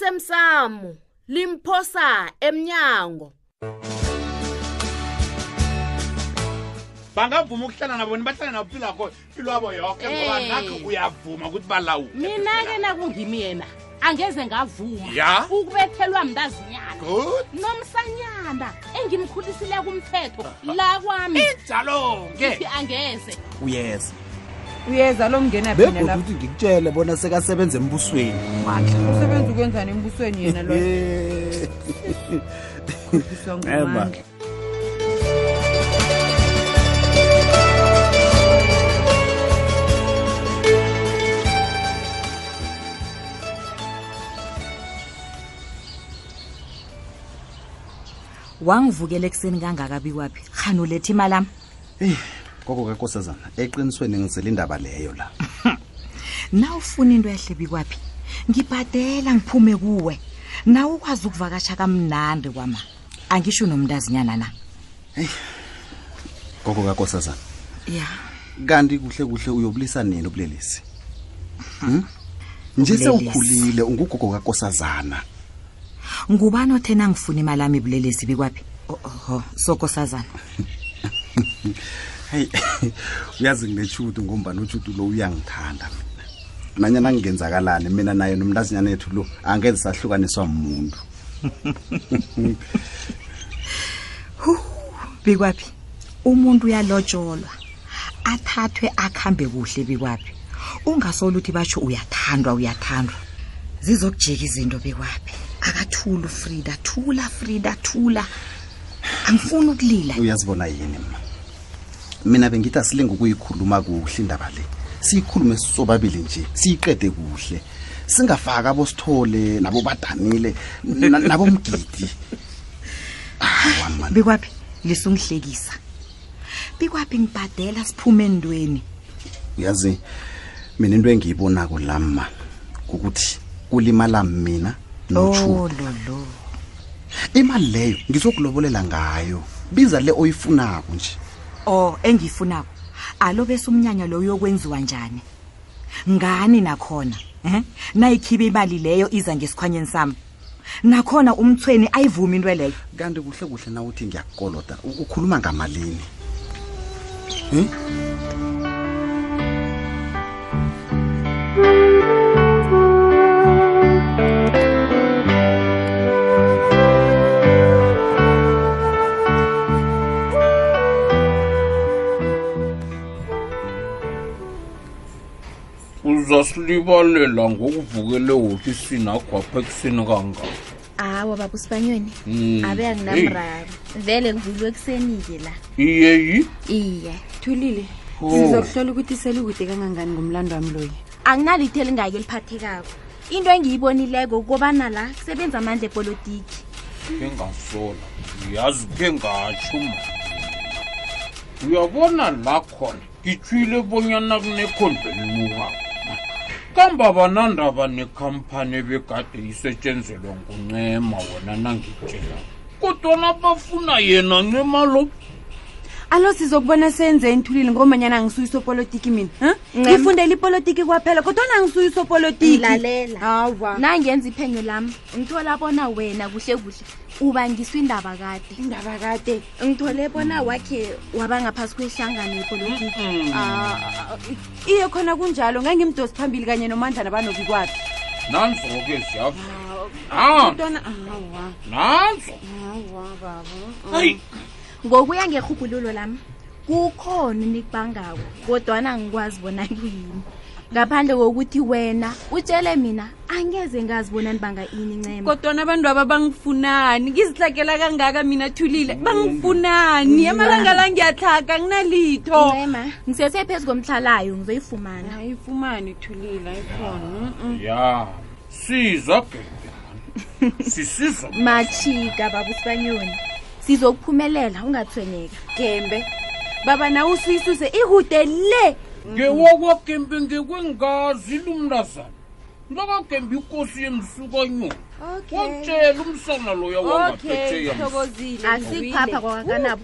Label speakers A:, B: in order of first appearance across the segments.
A: osemsamo limphosa emnyango
B: bangavuma ukuhlala nabo ni bahlale nabo phila khona impilo yabo yoke ngoba
C: Eh.
B: nakho uyavuma ukuthi balawule
C: mina-ke nakungimi yena angeze ngavuma
B: Ya.
C: ukubethelwa mntazinyana
B: good
C: nomsanyana engimkhulisile kumthetho la kwami
B: njalo-ke
C: Ngithi angeze
D: uyeza
E: uyeza lo mngena phina
D: begoda
E: lapha
D: ukuthi ngikutshele bona sekasebenza embusweni mandla
E: usebenza ukwenzani embusweni yena lo
D: Eh.
E: Ukhohliswa
D: Eba.
E: ngumandla.
F: wangivukela ekuseni kangakabi kwaphi khani uletha imalami
D: Eh, gogo kankosazana eqinisweni ngizela indaba leyo la
F: na ufuna into yahlebi kwaphi ngibhadela ngiphume kuwe nawe ukwazi ukuvakasha kamnandi kwama angisho nomntazinyana na
D: gogo kankosazana
F: ya
D: kanti kuhle kuhle uyobulisa nini ubulelesi Hmm? nje
F: Ubulelesi.
D: sewukhulile ungugogo kankosazana
F: ngubani othena ngifuna imalami bulelesi bikwaphi oho sokosazana
D: heyi uyazi nginechudu ngombani uchudu lo uyangithanda mina nanyana ngingenzakalani mina naye nomntazinyana ethu lo angeze sahlukaniswa muntu
F: bikwaphi umuntu uyalotsholwa athathwe akhambe kuhle bikwaphi ungasolo uthi batsho uyathandwa uyathandwa zizokujika izinto bikwaphi akathula ufrida thula frida thula angifuni ukulila
D: uyazibona yini ma mina bengithi asilinge ukuyikhuluma kuhle indaba le siyikhulume sisobabili nje siyiqede kuhle singafaki abosithole nabo badanile na- nabo mgidi Awa, man.
F: bikwaphi lisungihlekisa bikwaphi ngibhadela siphume endweni
D: uyazi mina into engiyibonako lama ukuthi kulimala mina
F: Oh,
D: nochu
F: lo lo
D: imali leyo ngizokulobolela ngayo biza le oyifunako nje
F: o Oh, engiyifunako alo bese umnyanya loyo uyokwenziwa njani ngani nakhona um nayikhibe imali leyo iza ngesikhwanyeni sami nakhona umthweni ayivumi into leyo
D: kanti kuhle kuhle na uthi ngiyakukoloda u- ukhuluma ngamalini
B: uzasilibalela ngokuvukele ofisini agwapha ekuseni kanga
G: hawa baba usibanyoni abe anginamraro vele ngivulwe ekuseni-ke la
B: iyeyi
G: iye
H: thulile sizokuhlola ukuthi selikude kangangani ngomlando wami loyi
G: anginalitho elingaki eliphathekako into engiyibonileko kobana la kusebenza amandla epolitiki
B: engasola yazi ke ngatsho ma uyabona la khona ngitshwile bonyana kunekhondelinuka kamba banandaba nekhampani ebekade isetshenzelwa nguncema wona nangitshela kodwana bafuna yena ncema lo
H: alo sizokubona senzeni thulile ngomanyana angisuyisopolitiki mina ha? ngifundela ipolitiki kwaphela kodwana angisuyisopolitiki
G: Lalela.
H: hawa
G: nangenza iphenyo lami ngithola bona wena kuhle kuhle ubangiswa indaba kade
H: indaba kade
G: ngithole bona wakhe waba ngaphasi kwehlangano yepolitiki
H: Ah, iye khona kunjalo ngangimdosi phambili kanye nomandlana banobi kwaphi
B: nanzo-ke ziyavula Ah.
H: kodwana hawa
B: nanzo
H: hawa baba
B: hayi
G: ngokuya ngerhubhululo lami kukhona unikubangako kodwana ngikwazi bona kuyini ngaphandle kokuthi wena utshele mina angeze ngazi bona nibanga ini ncema
H: kodwana abantu aba bangifunani ngizihlakela kangaka mina thulile bangifunani amalanga la ngiyatlhaga nginalitho
G: ncema ngisese phezu komhlalayo ngizoyifumana
H: ayifumani thulile ayikhona
B: ya siza gebe sisiza
G: machika baba usibanyoni sizokuphumelela ungathwenyeka
H: gembe baba nawe usuyisuse ikude le
B: ngewakwagembe ngekwengazi lumnazana ndakagembe ikosi yemsukanyoni watshela umsana loya
H: okay
B: wangapeteya
H: thokozile
G: asikhapha kwakakanabo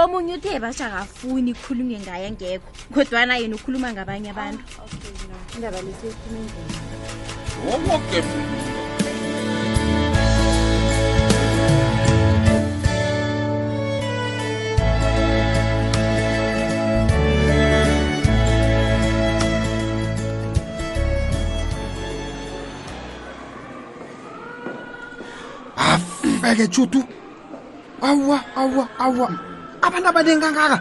G: omunye uthe basha kafuni ikhulunywe ngaye ngekho kodwana yena ukhuluma ngabanye abantu
B: ngewakwagembe
I: afeke judu awa awa awa abantu abaningi kangaka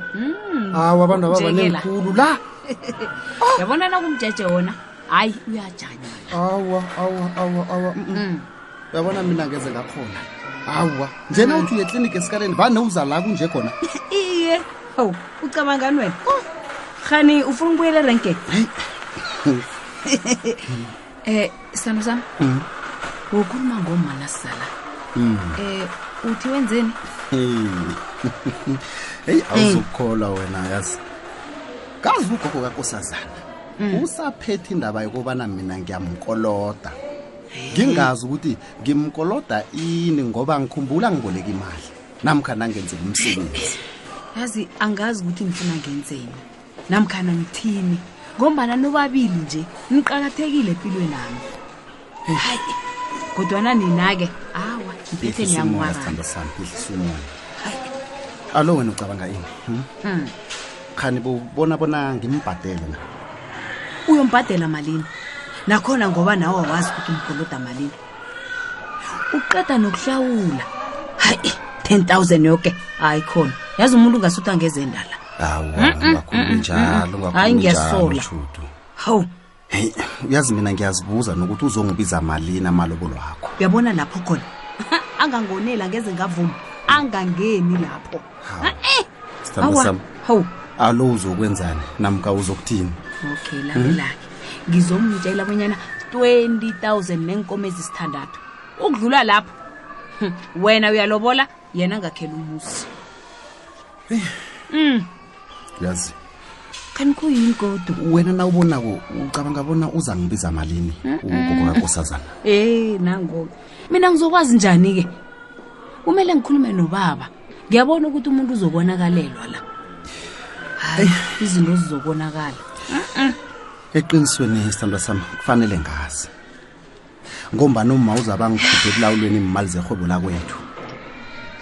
I: awa abantu
H: Njengela.
I: ababanengikhulu la
H: yabona nakumjeje wona hayi uyajanya
I: awa awa awa awa mm, mm. uyabona mina ngeze ngakhona awa njena uthi uyekliniki esikaleni vane uzala kunje khona
F: iye hawu ucabangani wena hani ufuna ukubuyela erenke Eh,
H: um sithando sam wokhuluma ngomana sizala
F: Eh,
H: um uthi wenzeni
D: heyi awuzukukholwa wena yazi kazi ugogo kakosazana
H: Hmm.
D: usaphethe indaba yokubana mina ngiyamkoloda ngingazi ukuthi ngimkoloda ini ngoba ngikhumbula ngiboleka imali namkha nangenzela
H: Eh,
D: umsebenzi
H: yazi angazi ukuthi ngifuna ngenzeni namkhana ngithini ngombana nobabili nje niqakathekile empilweni nami hayi kodwana nina-ke awa ngiphethe niyangiwarana
D: sithando sami ihlisimoya alo wena ucabanga ini hmm?
H: Mm.
D: khani bubona bona ngimbhadele na
H: uyombhadela malini nakhona ngoba nawe awazi ukuthi umkoloda malini uqeda nokuhlawula hayi 10000 yoke hayi khona yazi umuntu ungasuthi angezendala Mm,
D: awa ungakhulumi njalo
H: Hayi,
D: ungakhulumi njalo
H: ngiyasola.
D: Judu.
H: hawu
D: heyi uyazi mina ngiyazibuza nokuthi uzongibiza malini amalobolo akho
H: uyabona lapho khona angangoneli angeze ngavuma angangeni lapho Eh,
D: sithando
H: awa,
D: sami
H: hawu
D: alo uzokwenzani namka uzokuthini
H: okay lalelake ngizomtshela abonyana 20000 nenkomo ezisithandathu ukudlula lapho hm, wena uyalobola yena angakhela umuzi
D: uyazi
H: kanti kuyini kodwa
D: wena nawubonako ucabanga bona uza ngibiza malini ugogo kakosazana
H: Eh nangoku. Mina ngizokwazi njani ke? Kumele ngikhulume nobaba. Ngiyabona ukuthi umuntu uzobonakalelwa la. Hayi, izinto zizobonakala.
D: eqinisweni isithandwa sami kufanele ngazi ngombani uma uzaba ngikhuphe ekulawulweni imali zerhwebo lakwethu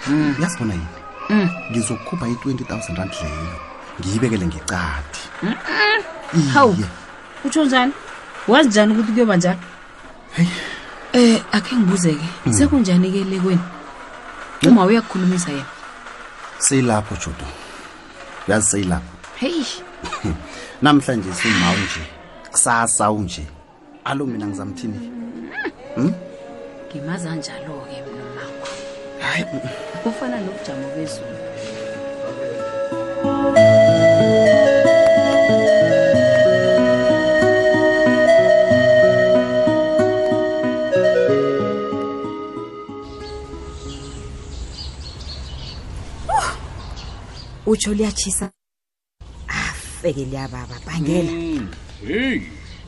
J: Mm.
D: yazibona yini ngizokukhupha i-20 000 rand leyo ngiyibekele ngecadi
H: Hawu.
D: iye
H: Utsho njani? Wazi njani ukuthi kuyoba njalo? Hey. Eh, akhe ngibuzeke. Sekunjani ke lekweni? Uma uyakhulumisa yena.
D: seyilapho judu uyazi seyilapho
H: Hey.
D: namhlanje simawu nje kusasa unje alo mina ngizamthini
H: Ngimaza njalo ke mina makho. Hayi, ufana nobujamo bezulu.
F: utsho liyatshisa afeke liyababa bangela
B: heyi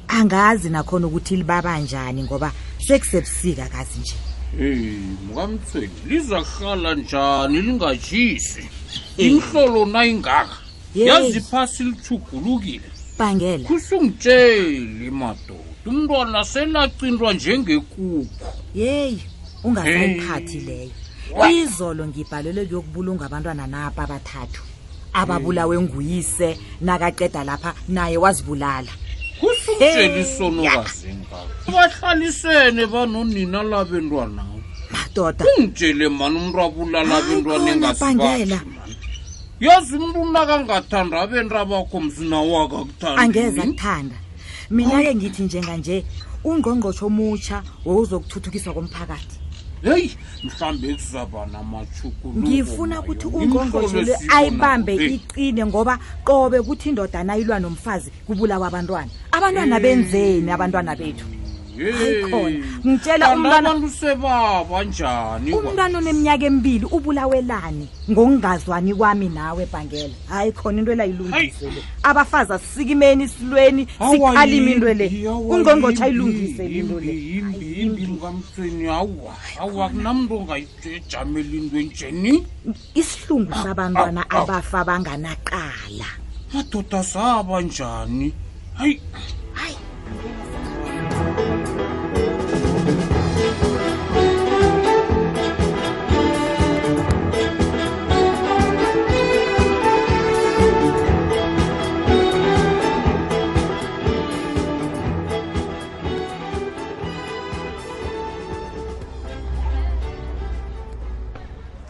F: angazi nakhona ukuthi libaba njani ngoba sekusebusika kazi nje
B: heyi mukamthweni lizahlala njani lingatshisi inhlolo nayingaka
F: Hey.
B: yazi phasi lithugulukile
F: bangela
B: kusungitsheli madoda umntwana selacindwa njengekukhu
F: yeyi ungasayiphathi
B: Hey.
F: leyo izolo ngibhalelwe kuyokubulunga abantwana napa abathathu ababulawe nguyise nakaqeda lapha naye wazibulala
B: kusukutshela
F: Hey,
B: isonokazi ngaka bahlalisene banonina labentwana
F: madoda
B: ungitshele mani umntu abulala abentwana
F: Hayi, Ah, khona, Bhangela.
B: engasibathi mani yazi umntu unakangathanda abenta bakho mzinawaka
F: angeze
B: kuthanda
F: akuthanda mina-ke ngithi njenganje ungqongqosho omutsha wowuzokuthuthukiswa komphakathi
B: heyi mhlawumbe kuzaba namatshuguluko
F: ngifuna ukuthi
B: nayo.
F: ungqongqosho
B: Imhlolo
F: le
B: esiyibonako,
F: ayibambe
B: hey.
F: iqine ngoba qobe kuthi indoda nayilwa nomfazi kubulawa abantwana abantwana benzeni abantwana bethu hayi khona ngitshela
B: Kanti
F: umntwana
B: abantu sebaba njani kwa-
F: umntwana oneminyaka emibili ubulawelani ngokungazwani kwami nawe bhangela hayi khona into elayilungise le abafazi asisikimeni silweni
B: Awa,
F: sikhalime into le
B: yimbi, awa,
F: ungqongqotsha
B: yimbi,
F: ayilungise le into le
B: yimbi, yimbi yimbi mkamsweni awa awa kunamntu ongayijameli into enjeni
F: isihlungu sabantwana
B: aw.
F: abafa banganaqala
B: madoda saba njani hayi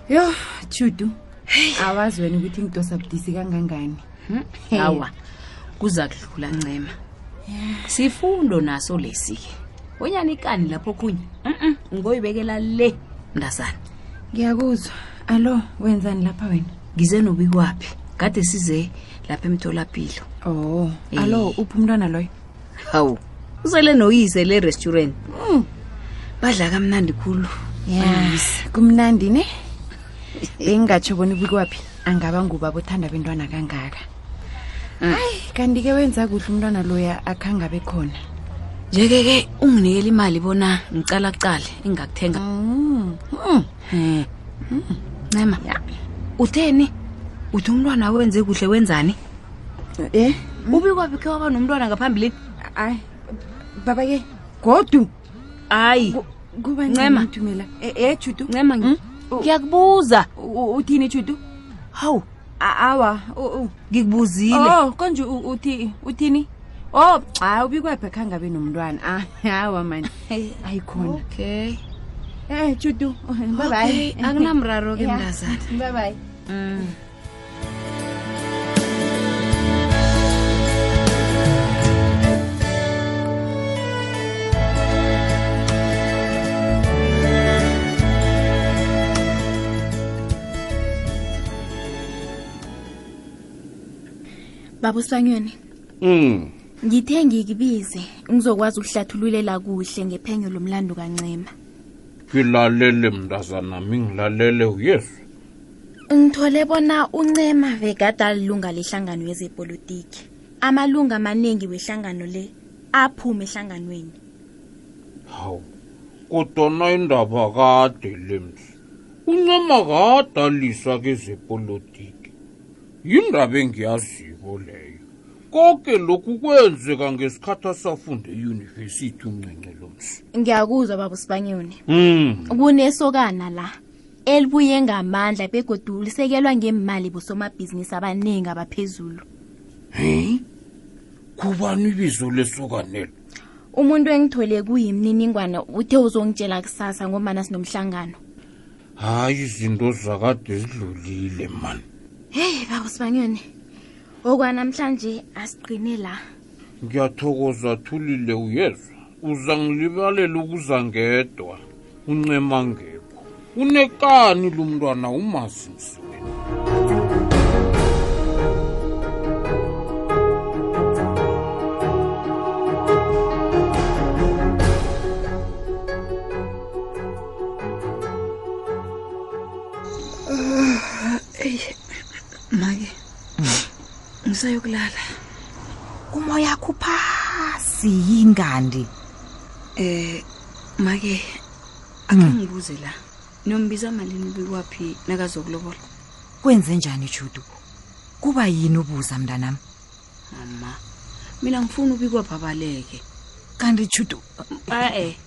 E: yo chudu awazi wena ukuthi ngidosa budisi kangangani
H: Hmm? awa kuza kudlula ncema sifundo naso lesi-ke unyana ikani lapho okhunye Mm-mm, ngoyibekela le mntazana
E: ngiyakuzwa alo wenzani lapha wena
H: ngize nobikwaphi kade size lapha emtholapilo
E: oh alo
H: Eh.
E: uphi umntwana loyo
H: hawu usele noyise le restaurant
E: Hmm.
H: Mm, badla kamnandi khulu
E: Yes, kumnandi ne bengingatsho bona ubikwaphi angaba ngubaba othanda bentwana kangaka
H: Ah.
E: hayi kanti-ke wenza kuhle umntwana loya akhange abe khona
H: njeke-ke unginikela imali bona ngicalacale engingakuthenga
E: Mm.
H: Eh. ncema utheni uthi umntwana wenze kuhle wenzani Hmm?
E: eh
H: ubikwaphi khe waba nomntwana ngaphambilini
E: hayi baba-ke godu
H: hayi
E: Ku- kuba
H: Ncema.
E: njaniumela e judu
H: ncema ngi-
E: Mm?
H: ngiyakubuza
E: U- uthini judu
H: hawu
E: awa u- u-
H: ngikubuzile
E: oh konje u- uthi uthini oh hayi ubikwaphi akhange abe nomntwana Ah, awa mani ayikhona
H: okay
E: Eh, Chutu.
H: okay
E: Bye bye.
H: akunamraro ke mntazana
E: Bye bye.
G: babusanyweni ngithe ngikubize ngizokwazi ukuhlathululela kuhle ngephenyo lomlando kancema
B: ngilalele mntazanami ngilalele yesu
G: ngithole bona uncema vegada alilunga lehlangano yezepolitiki amalunga amaningi wehlangano le aphume ehlanganweni
B: hawu kodwana indaba kade lemsi uncema kadaliswa kezepolitiki yindaba engiyaziko leyo konke lokhu kwenzeka ngesikhathi asafunde eyunivesithi uncince lomsi
G: ngiyakuzwa baba sibanyoni Hmm.
B: mm.
G: kunesokana la elibuye ngamandla begodu lisekelwa ngemali bosomabhizinisi abaningi abaphezulu
B: hey? kubani ibizo lesokanelo
G: umuntu engithole kuyimniningwana uthe uzongitshela kusasa ngombana sinomhlangano
B: hayi izinto zakade zidlulile mani
G: heyi baba sibanyoni okwanamhlanje asiqine la
B: ngiyathokoza thulile uyezwa uza ngilibalela ukuza ngedwa uncema ngekho unekani lo mntwana umazisi wena
H: make ngisayokulala
F: umoya kuphasi yini kanti
H: eh make akhe ngibuze la nombiza malini ubikwaphi nakazokulobola
F: kwenze njani judu kuba yini ubuza mntanami
H: mama mina ngifuna ubikwaphi abaleke
F: kanti judu
H: ae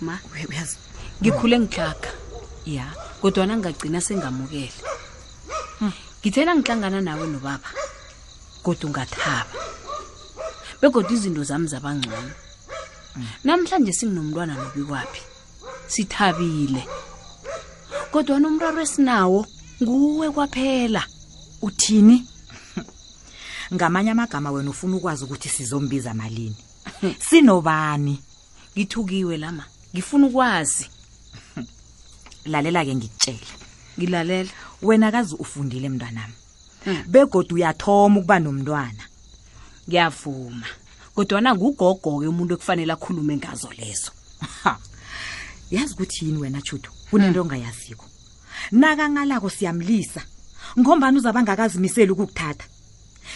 H: ma
F: we- uyazi
H: ngikhule ngihlaga ya kodwana ngingagcina sengamukele ngithena ngihlangana nawe nobaba kodwa ungathaba begodwa izinto zami zabangcono namhlanje singinomntwana nobikwaphi sithabile kodwa nomraro esinawo nguwe kwaphela
F: uthini ngamanye amagama wena ufuna ukwazi ukuthi sizombiza malini sinobani
H: ngithukiwe lama ngifuna ukwazi
F: lalela-ke ngikutshele
H: ngilalela
F: wena kazi ufundile mntwanami
H: Mm.
F: begodwa uyathoma ukuba nomntwana
H: ngiyavuma kodwana ngugogo-ke umuntu ekufanele akhulume ngazo lezo
F: Ha. yazi ukuthi yini wena chudu kunento ongayaziko nakangalako siyamlisa ngombani uzaba ngakazimiseli ukukuthatha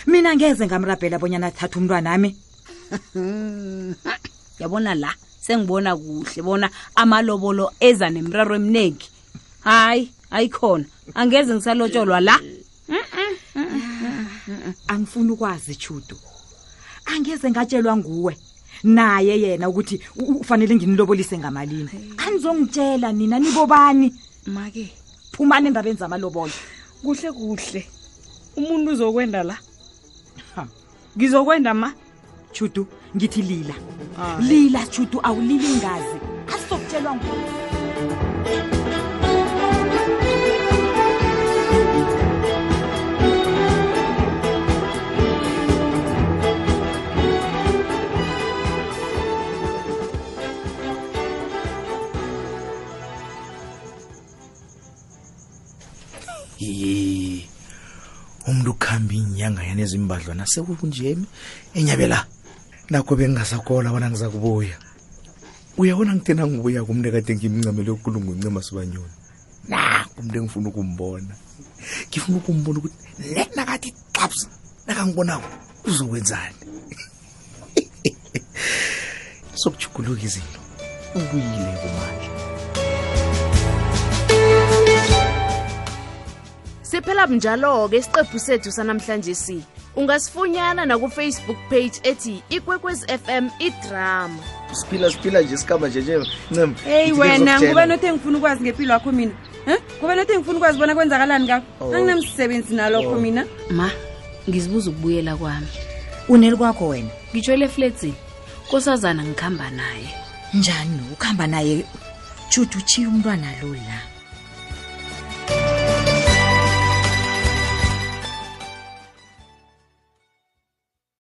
F: mina ngeze ngamrabhela bonyana thatha umntwanami
H: yabona la sengibona kuhle bona amalobolo eza nemraro eminingi hayi ayikhona angeze ngisalotsholwa la
F: angifuni ukwazi chudu angeze ngatshelwa nguwe naye yena ukuthi u- u- ufanele nginilobolise ngamalini anizongitshela nina nibobani
H: make
F: phumani endabeni zamalobolo
H: kuhle kuhle umuntu uzokwenda la ngizokwenda ma Ah,
F: chudu ngithi lila lila chudu awulili ngazi asizokutshelwa nguwe
G: Thank
J: ye umuntu ukuhamba inyanga yanezimbadlwana sekukunjemi enyabe la nakho bengingasakola bona ngizakubuya uyabona ngithe nangibuya kumntu ekade ngimncamele yokulunga uncema sibanyoni nakho umuntu engifuna ukumbona ngifuna ukumbona ukuthi le nakathi xaps nakangibonako uzokwenzani sokujuguluka izinto ubuyile kumandla
C: siphela bunjalo-ke isiqephu sethu sanamhlanje si ungasifunyana nakufacebook page ethi ikwekwezi fm idrama
J: siphila siphila nje sikhamba nje nje ncema
H: heyi
J: Ithi
H: wena
J: ngizokutjela.
H: ngube nothi engifuna ukwazi ngempilo yakho mina um ngube nothi engifuna ukwazi bona kwenzakalani kakho anginamsebenzi nalokho mina
K: ma ngizibuza ukubuyela kwami
F: uneli kwakho wena
K: ngitshwele efletsini kosazana ngikhamba naye
F: njani ukuhamba naye jude uchiye umntwana lo la